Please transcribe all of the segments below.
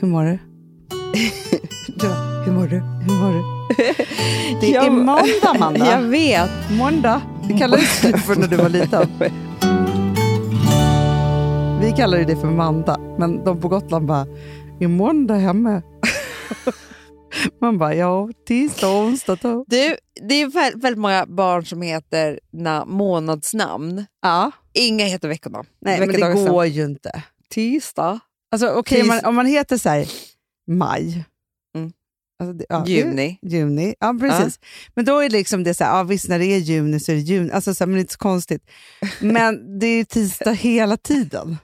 Hur mår du? ja, hur mår du? Hur mår du? Det Jag- är måndag, Amanda. Jag vet. Måndag. Det kallades det för när du var liten. Vi kallar det för Manda, men de på Gotland bara, är måndag hemma? Man bara, ja, tisdag, onsdag, då. Du, det är vä- väldigt många barn som heter na- månadsnamn. Ja, Inga heter veckonamn. nej, men det Veckodagsnamn. går ju inte. Tisdag. Alltså, okej, Tis- om man, om man heter så här, maj, Mm. alltså, det, ja, det- Juni. Juni, ja precis. Men då är liksom det så här, ja, visst när det är juni så är det juni, alltså, så här, men det är inte så konstigt. Men det är ju tisdag hela tiden.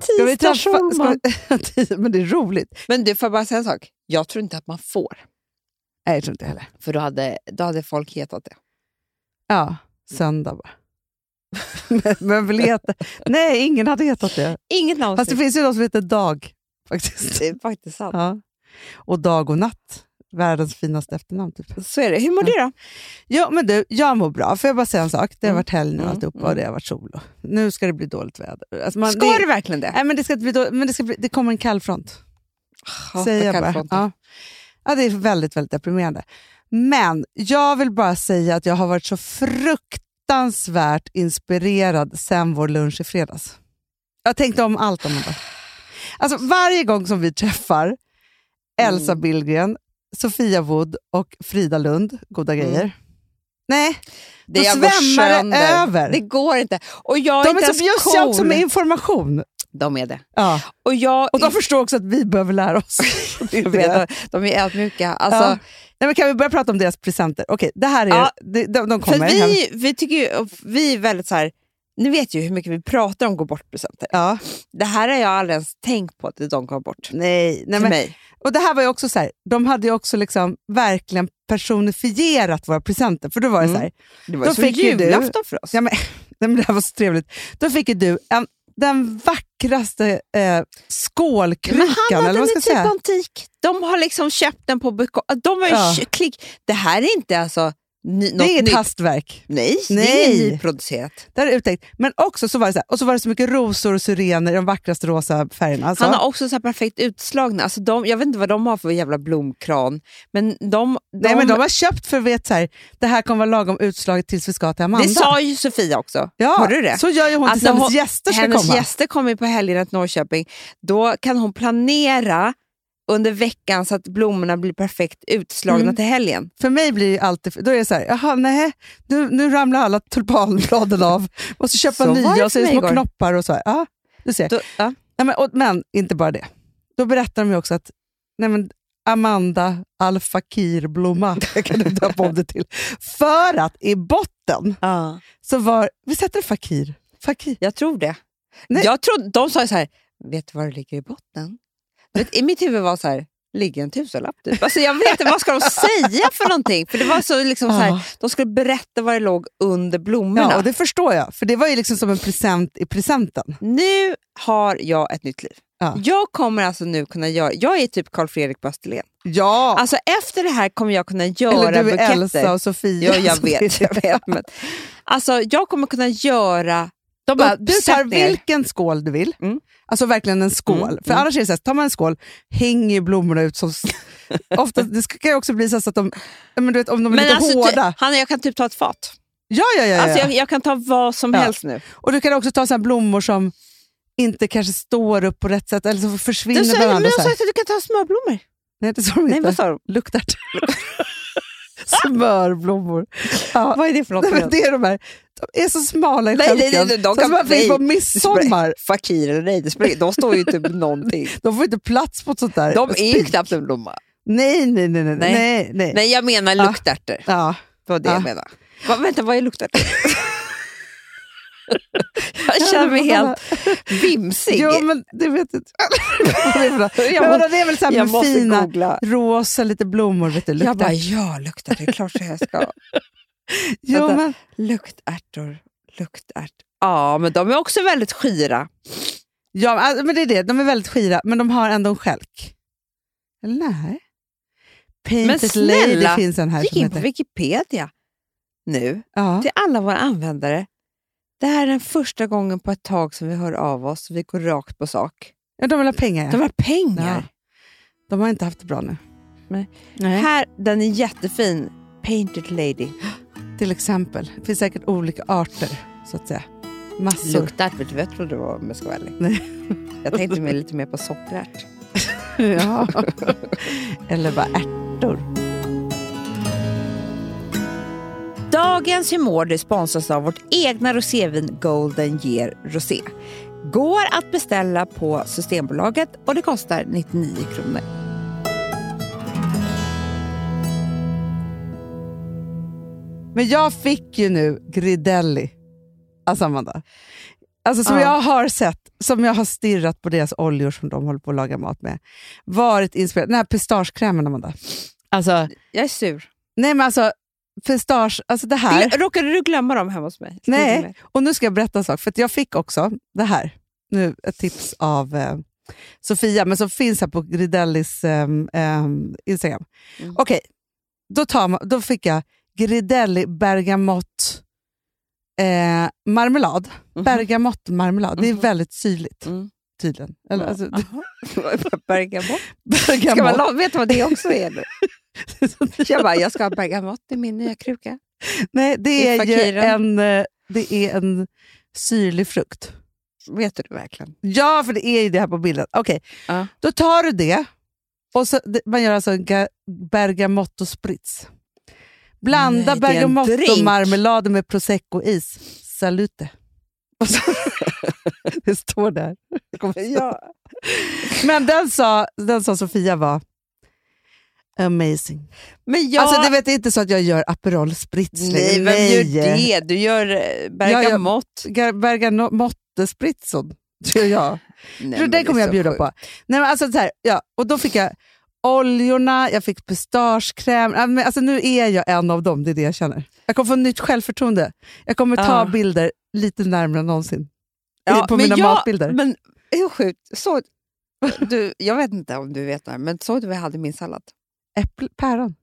Ska vi träffa, ska, vi- men det är roligt. Men du, får jag bara säga en sak? Jag tror inte att man får. Nej, jag tror inte heller. För då hade, då hade folk hetat det. Ja, söndag bara. Men- men vill heta, nej, ingen hade hetat det. Inget namn. Fast det finns finns ju de som heter Dag. faktiskt. det är faktiskt sant. Ja. Och Dag och Natt, världens finaste efternamn. Typ. Så är det. Hur mår du då? Ja, men du, jag mår bra. Får jag bara säga en sak? Det har Mm. varit helg nu Mm, och alltihopa och det har varit sol. och- Nu ska det bli dåligt väder. Alltså man, Ska det, du verkligen det? Ah, Nej, men det, ska inte bli dåligt, men det, ska bli, det kommer en kall front. Ja, säger jag tack bara. Alfons. Ja. Ja, det är väldigt, väldigt deprimerande. Men jag vill bara säga att jag har varit så fruktansvärt inspirerad sen vår lunch i fredags. Jag tänkte om allt om det. Alltså varje gång som vi träffar Elsa Mm. Billgren, Sofia Wood och Frida Lund, goda Mm. grejer. Nej, Det Då jag går svämmar det sönder. över. Det går inte. Och jag de inte är ens så bjussiga också cool. med information. De är det. Ja. Och jag... Och de förstår också att vi behöver lära oss. Det är Jag det. vet, de är ödmjuka. Alltså, Nej, men kan vi börja prata om deras presenter? Okej, det här är... Ja. De, de, de för kommer. hem. vi, vi, tycker ju, och vi är väldigt så här, ni vet ju hur mycket vi pratar om gå bort-presenter. Ja. Det här har jag aldrig ens tänkt på att de går bort. Nej, nej till men, mig. och det här var ju också så här, de hade ju också liksom verkligen personifierat våra presenter. För då var det Mm. så här, Det var då ju som fick ju du- julafton för oss. ja, men, nej, men det här var så trevligt. Då fick ju du en, den vackraste eh, Men skålkrukan, han hade eller vad ska en typ jag säga? antik. De har liksom köpt den på beko- De har ju Ja. kö- klick. Det här är inte alltså ny, Det är något inget nytt. hastverk. Nej, det är Nej. inget nyproducerat. Det här är uttänkt. Men också så var det så, här, och så var det så mycket rosor och syrener i de vackraste rosa färgerna. Alltså. Han har också så här perfekt utslagna. Alltså de, jag vet inte vad de har för jävla blomkran. Men de, de, Nej, men de har köpt för vet så här, det här kommer vara lagom utslaget tills vi ska till Amanda. det sa ju Sofia också. ja, Har du det? Så gör ju hon tills Alltså, hennes hon- gäster ska Hennes komma. gäster kommer ju på helgerna till Norrköping. Då kan hon planera under veckan så att blommorna blir perfekt utslagna Mm. till helgen. För mig blir det alltid, då är det så här, jaha nej, nu, nu ramlar alla tulpanbladen av. Måste köpa Så var det nya och så är det för små mig igår. knoppar och så. Här. Ja, du ser. Då, ja. Nej, men, och, men inte bara det. Då berättar de ju också att nej, men, Amanda Al-Fakir Blomma kan du döpa om det till. För att i botten så var, vi sätter Fakir. Fakir. Jag tror det. Nej. Jag trodde, de sa ju så här, vet du vad det ligger i botten? Du Vet, I mitt huvud var så här, ligger en tusenlapp typ. Alltså jag vet inte, vad ska de säga för någonting? För det var så liksom så Ja. här, de skulle berätta vad det låg under blommorna. Ja, och det förstår jag. För det var ju liksom som en present i presenten. Nu har jag ett nytt liv. Ja. Jag kommer alltså nu kunna göra, jag är typ Carl Fredrik på Österlen. Ja, Alltså efter det här kommer jag kunna göra eller du är buketter. Elsa och Sofia. Ja, jag vet. Jag vet men, alltså jag kommer kunna göra De bara, du tar Uppsättningar. vilken skål du vill. Mm. Alltså verkligen en skål. Mm, För mm. annars är det så här, tar man en skål, hänger ju blommorna ut som... Ofta, det ska- kan ju också bli så att de, ja, men du vet, om de är lite alltså, hårda. ty- Hanna, jag kan typ ta ett fat. Ja, ja, ja. ja. Alltså, jag, jag kan ta vad som Ja. helst nu. Och du kan också ta så här blommor som inte kanske står upp på rätt sätt, eller så försvinner Du sa, men varandra. jag Så sa här. att du kan ta smörblommor. Nej, det sa de Nej, inte. vad sa de? Luktar Smörblommor. Ja. Vad är det för något? Nej, men det är de här, de är så smala i Nej, nej, nej, stjälken, nej, de så kan- att man finns på nej. midsommar. Fakir eller nej, det spelar, de står ju typ någonting. De får inte plats på ett sånt där. De är ju spik. knappt en blomma. Nej, nej, nej. nej, Nej. nej. nej. Nej, jag menar Ja. luktärtor. Ja. Det var det Ja. jag menade. Va, vänta, vad är luktärtor? jag känner mig helt vimsig. Jo, men det vet jag inte. Vad är det för något? Jag men må- vadå, det är väl så här jag med måste fina googla. rosa, lite blommor. Vet du, luktar. Jag bara, ja, luktärtor. Det är klart jag ska. jo, vänta. men, Luktärtor, luktärtor. Ja, men de är också väldigt skira. ja, alltså, men det är det. De är väldigt skira, men de har ändå en stjälk. Eller nej? Painted Lady snälla, finns en här Gick som in på heter. Wikipedia nu. Ja. till alla våra användare. Det här är den första gången på ett tag som vi hör av oss. Vi går rakt på sak. Ja, de vill ha pengar. De Ja. har pengar. De har inte haft det bra nu. Nej. Nej. Här, den är jättefin. Painted Lady. Till exempel. Det finns säkert olika arter, så att säga. Massor. Luktar, vet du vad jag trodde det var om jag ska vara ärlig? Nej. Jag tänkte mig lite mer på soppärt. ja. Eller bara ärtor. Dagens humor sponsras av vårt egna rosévin Golden Year Rosé. Går att beställa på Systembolaget och det kostar 99 kronor. Men jag fick ju nu Gridelli. Alltså Amanda. Alltså som Ja. jag har sett, som jag har stirrat på deras oljor som de håller på att laga mat med. Varit inspirerad. Den här pistagekrämen Amanda. Alltså, Jag är sur. nej men alltså, pistage, alltså det här. Glö- Råkade du glömma dem hemma hos mig? Till Nej, mig. och nu ska jag berätta en sak. För att jag fick också det här. Nu ett tips av eh, Sofia, men som finns här på Gridellis eh, eh, Instagram. Mm. Okej, då, tar man, då fick jag Gridelli bergamott eh, marmelad. Mhm. Bergamottmarmelad. Det är Mhm. väldigt syrligt Mm. tydligen. Eller, Ja. alltså, Bergamott. Ska man bergamott. la- vet du vad det också är nu? Jag bara, jag ska ha bergamott i min nya kruka. Nej, det är ju fakiren. en, eh, det är en syrlig frukt. Vet du det verkligen? Ja, för det är ju det här på bilden. Okej, Ja. då tar du det. Och så, det- man gör alltså en ga- bergamotto spritz. Nej, det Blanda är en drink. bergamottomarmeladen med prosecco-is. Salute. Och så- det står där. Ja. Men den sa, den sa Sofia var amazing. Men jag... Alltså det vet, det är inte så att jag gör Aperol spritz Nej, vem gör det? Du gör eh, bergamott. Bergamotto-spritzen, tror jag. Nej, Så men den kommer är jag så bjuda sjukt. på. Nej, men alltså, så här, ja, och då fick jag oljorna, jag fick pistagekräm. Ja, men Alltså, nu är jag en av dem, det är det jag känner. Jag kommer få nytt självförtroende. Jag kommer ta Ja. bilder bilder lite närmare än någonsin Ja, på men mina jag- matbilder. Men hur sjukt? Så, du, jag vet inte om du vet det här, men såg du vad jag hade i min sallad? Äpple, päron.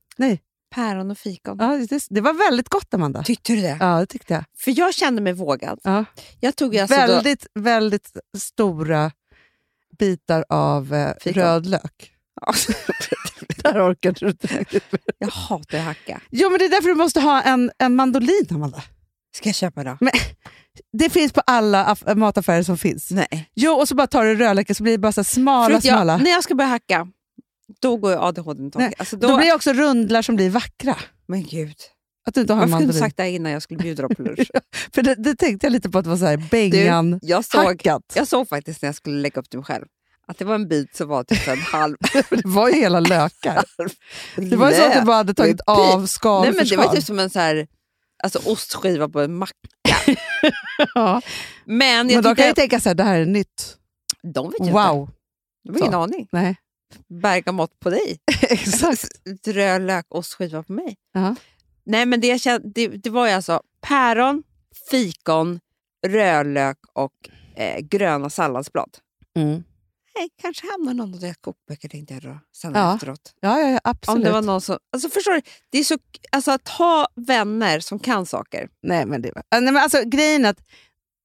Päron och fikon. Ja, det, det var väldigt gott, Amanda. Tyckte du det? Ja, det tyckte jag. För jag kände mig vågad. Ja. Jag tog ju alltså då, väldigt, väldigt stora bitar av eh, Fikon. röd lök. Där orkade du inte riktigt. jag hatar att hacka. Jo, men det är därför du måste ha en, en mandolin, Amanda. Ska jag köpa då? Det finns på alla aff- mataffärer som finns. Nej. Jo, och så bara tar du rödlöken så blir det bara så här smala, För att jag, smala. när jag ska börja hacka, då går jag ADHD en Nej, tag. Alltså Då, då, blir det också rundlar som blir vackra. Men gud, Att du inte har varför en har du inte mandolin. sagt det här innan jag skulle bjuda dem på lunch? För det, det tänkte jag lite på att det var så här bengan Jag såg, hackat. jag såg faktiskt när jag skulle lägga upp det själv att det var en bit som var typ en halv. Det var ju hela lökar. Det var ju så att du bara hade tagit det är pi- av skal Nej, men för det var skal. typ som en så här, alltså, ostskiva på en macka. ja. Men, Men jag då kan tyckte, jag ju tänka så här, det här är nytt. de vet ju inte. Wow. De har ingen Så. aning. Nej, Bergamott på dig. exakt. Röd lök, ostskiva på mig. Ja. Nej, men det, jag kände, det, det var ju alltså päron, fikon, rödlök och eh, gröna salladsblad. Mm. Nej, kanske hamnar någon av deras kokböcker tänkte jag då, sen Ja, efteråt. Ja, ja, ja, absolut. Om det var någon som, alltså förstår du, det är så, alltså att ha vänner som kan saker. Nej, men det var... Nej, men alltså, grejen är att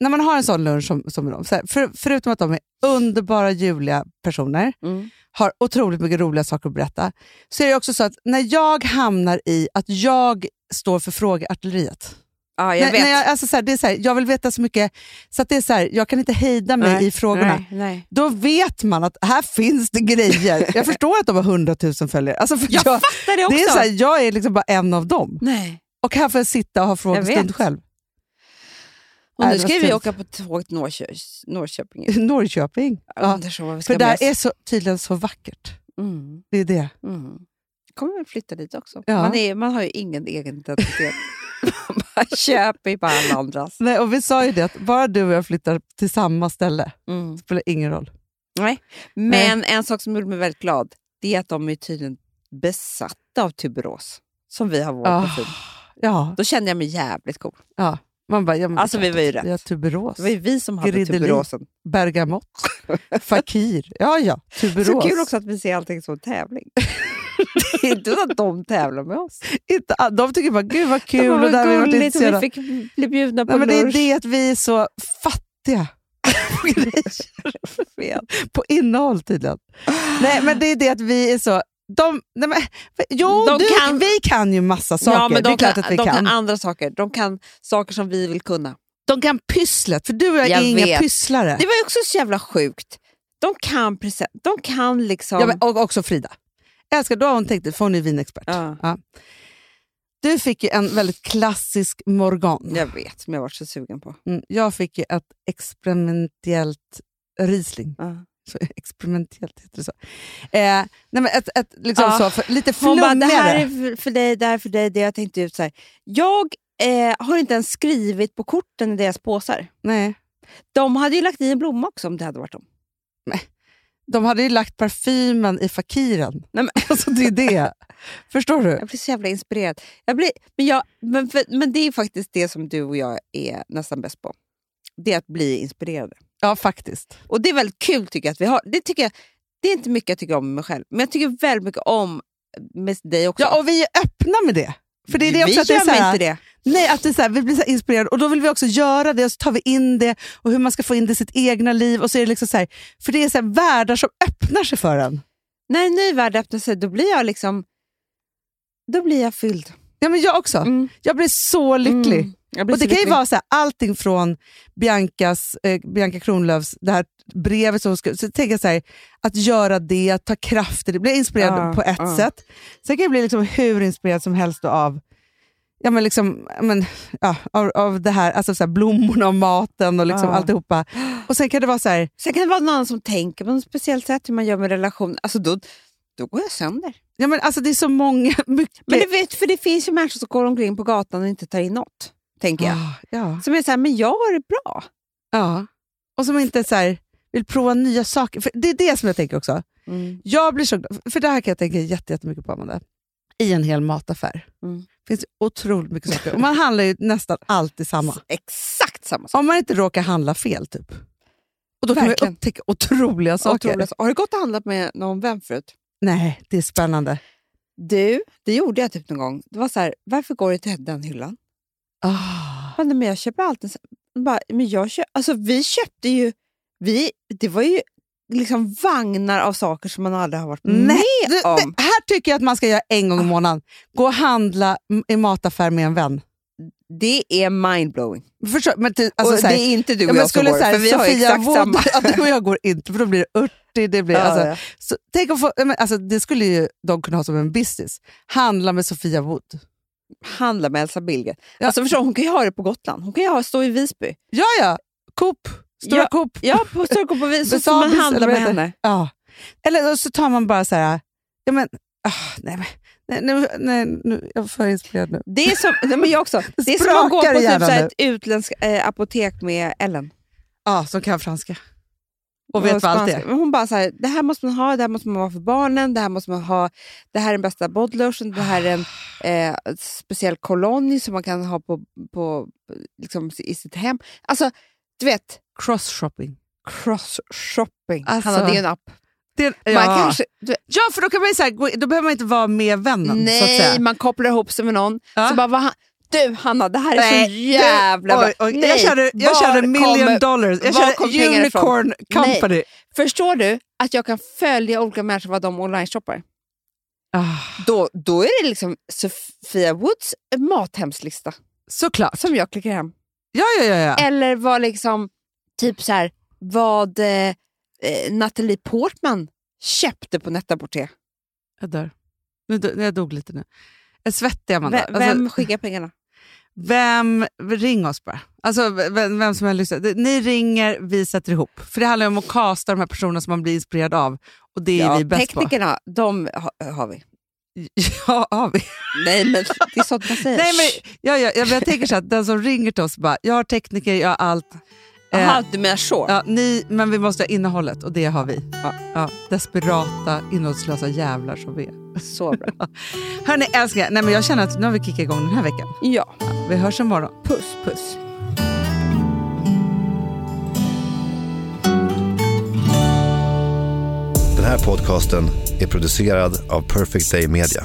när man har en sån lunch som, som de, så här, för, förutom att de är underbara, ljuvliga personer, har otroligt mycket roliga saker att berätta, så är det också så att när jag hamnar i att jag står för frågeartilleriet. Ja, jag när, vet. När jag, alltså så här, det är så här, jag vill veta så mycket, så att det är så här, jag kan inte hejda mig Nej, i frågorna. nej, nej. Då vet man att här finns det grejer. Jag förstår att de har 100 000 följare. Alltså för Jag jag, fattar det också. det är så här, jag är liksom bara en av dem. nej. Och här får jag sitta och ha frågestund vet. själv. Och Nej, nu det var ska vi fint. åka på tåg till Norrkö- Norrköping. Norrköping. Jag Ja. undrar så vad vi ska För där med är oss. så, tydligen så vackert. Mm, Det är det. mm. kommer väl flytta dit också. Ja. Man, är, man har ju ingen egen identitet. man köper ju bara alla andras. Nej, och vi sa ju det, att bara du och jag flyttar till samma ställe Mm. spelar ingen roll. Men en sak som gjorde mig väldigt glad, det är att de är tydligen besatta av tuberos. Som vi har vår Ah, parfym. ja, Då kände jag mig jävligt cool. man bara, ja, men Alltså, vi var ju vi rätt. har tuberos, Det var ju vi som hade Gridelin. tuberosen. bergamott, fakir. Ja, ja, tuberos. Så kul också att vi ser allting som en tävling. det är inte så att de tävlar med oss. Inte, all- de tycker bara, gud vad Det kul. var och där har vi varit gulligt och intresserade. vi fick bli bjudna på Nej, men Det är lunch. det att vi är så fattiga. grejer för fel. På innehåll tydligen. Nej, men det är det att vi är så... De, nej, men, jo, De du, kan- vi kan ju massa saker. Ja, men det de är klart kan, att vi de kan. kan. andra saker. De kan saker som vi vill kunna. De kan pysslet, för du och jag, Jag är inga vet. pysslare. Det var ju också så jävla sjukt. De kan, presen- de kan liksom... Ja, men, och också Frida. Jag älskar, då har hon tänkt det, för hon är vinexpert. Ja, Du fick ju en väldigt klassisk Morgan. jag vet, men jag varit så sugen på. Mm, jag fick ju ett experimentellt Riesling. Ja. Så experimentellt heter det så. Eh, nej men ett, ett, liksom Ja. så för, lite Hon bara, flummigare. det här är för- för dig, det här är för dig, det har jag tänkt ut. Så här. Jag eh, har inte ens skrivit på korten i deras påsar. Nej. De hade ju lagt i en blomma också om det hade varit dem. De hade ju lagt parfymen i fakiren. Nej, men- Alltså, det är det. Förstår du? Jag blir så jävla inspirerad. Jag blir, men, jag, men, för, men det är faktiskt det som du och jag är nästan bäst på. Det är att bli inspirerade. Ja, faktiskt. Och det är väldigt kul tycker jag att vi har. Det, tycker jag, det är inte mycket jag tycker om med mig själv, men jag tycker väldigt mycket om med dig också. Ja, och vi är öppna med det. För det är det också vi att det är så här, inte det. Nej, att det är så här, vi blir så här inspirerade och då vill vi också göra det och så tar vi in det och hur man ska få in det i sitt egna liv. Och så är det liksom så här, för det är så här världar som öppnar sig för en. När en ny värld öppnar sig, då blir jag liksom... Då blir jag fylld. Ja, men jag också. Mm. Jag blir så lycklig. Mm. Jag blir Och Det så kan ju lycklig. vara så här, allting från Biancas, eh, Bianca Kronlöfs det här brevet. Som hon skrev. så tänker jag så här, att göra det, att ta krafter. Det blir jag inspirerad Ja, på ett ja. sätt. Sen kan jag bli liksom hur inspirerad som helst då av Ja, men liksom, ja, men, ja, av, av det här, alltså så här, blommorna och maten och liksom Ja. alltihopa. Och sen kan det vara så här, Sen kan det vara någon annan som tänker på något speciellt sätt, hur man gör med relation. Alltså då, då går jag sönder. Ja, men alltså det är så många, mycket. Men du vet, för det finns ju människor som går omkring på gatan och inte tar in något, tänker jag. Ah, ja. Som är såhär, men jag har det bra. ja. Och som inte så här, vill prova nya saker. För det är det som jag tänker också. Mm. Jag blir så glad, för det här kan jag tänka jätte- jättemycket på Amanda. I en hel mataffär Mm. finns det otroligt mycket saker. Och man handlar ju nästan alltid samma. Exakt samma sak. Om man inte råkar handla fel typ. Och då kan man Verkligen. man upptäcka otroliga saker. Otroligt. Har du gått och handlat med någon vän förut? Nej, det är spännande. Du, det gjorde jag typ någon gång. Det var så här, varför går du till den hyllan? Ah. Ja, nej, Men jag köper alltid... så- Bara, men jag köp, alltså, vi köpte ju... Vi, det var ju liksom vagnar av saker som man aldrig har varit Nej, med det, om. Ah. det här tycker jag att man ska göra en gång i månaden. Gå och handla m- i mataffär med en vän. Det är mindblowing. Förstår, men ty, alltså, och så här, det är inte du och Ja, men jag som skulle går, så här, för vi har ju Sofia exakt Wood- samma. Ja, du och jag går inte, för då blir det örtig. Det, blir, alltså, ja. så, tänk att få, nej, men, alltså, det skulle ju de kunna ha som en business. Handla med Sofia Wood. Handla med Elsa Billgren. Ja. Alltså, förstår, du, hon kan ju ha det på Gotland. Hon kan ju ha, stå i Visby. Ja, ja. Coop. Stora Ja. Coop. Ja, på Stockholm på Visby. Så får man Sabis, handla eller vad med heter henne. Ja. Eller så tar man bara så här... Ja, men, ah, nej, men, nej, nu, nej, nu, jag är för inspirerad nu. Det är som, nej, men jag också. Det är som att gå sprakar på i typ, hjärnan så här, nu. ett utländskt eh, apotek med Ellen. Ja, som kan franska. Och vet vad allt spanska. är. Men Hon bara så här, det här måste man ha, det här måste man ha för barnen, det här måste man ha, det här är den bästa bodylotion, det här är en eh, speciell kolonny som man kan ha på, på, liksom, i sitt hem. Alltså, du vet, Cross-shopping. cross-shopping. Alltså, Hanna, det är ju en app. Det, ja. Man kanske, du, ja, för då, kan man ju så här, gå in- då behöver man inte vara med vännen. så att nej, säga. man kopplar ihop sig med någon. Ja. Så bara, vad, han- du Hanna, det här är så Nej, jävla bra. Oj, oj, jag körde, jag var körde million kommer- dollars. Jag var körde kom pengarna ifrån? unicorn Nej. company. Förstår du att jag kan följa olika människor vad de online-shoppar? Ah, Då, då är det liksom Sofia Woods mathemslista såklart. som jag klickar hem. Ja, ja, ja. ja. Eller vad liksom, typ så här, vad eh, eh, Nathalie Portman köpte på Netaporté. Jag dör. Nu, dö- jag dog lite nu. Jag är svettig, Amanda. Vem, Alltså, vem skickar pengarna? vem, ring oss bara. Alltså, vem, vem som helst lyssnar. Det- Ni ringer, vi sätter ihop. För det handlar ju om att kasta de här personerna som man blir inspirerad av. Och det är vi bäst på. teknikerna, de ha, har vi. Ja, har vi. Nej, men det är sånt man säger. Nej, men, ja, ja, ja, men jag tänker så att den som ringer till oss bara, jag har tekniker, jag har allt. Eh, Jaha, du menar så? Ja, ni, men vi måste ha innehållet och det har vi. Ja. Ja, desperata, innehållslösa jävlar som vi är. Så bra. Hörni älsklingar, nej, men jag känner att nu har vi kickat igång den här veckan. Ja, Vi hörs imorgon. puss puss. Den här podcasten är producerad av Perfect Day Media.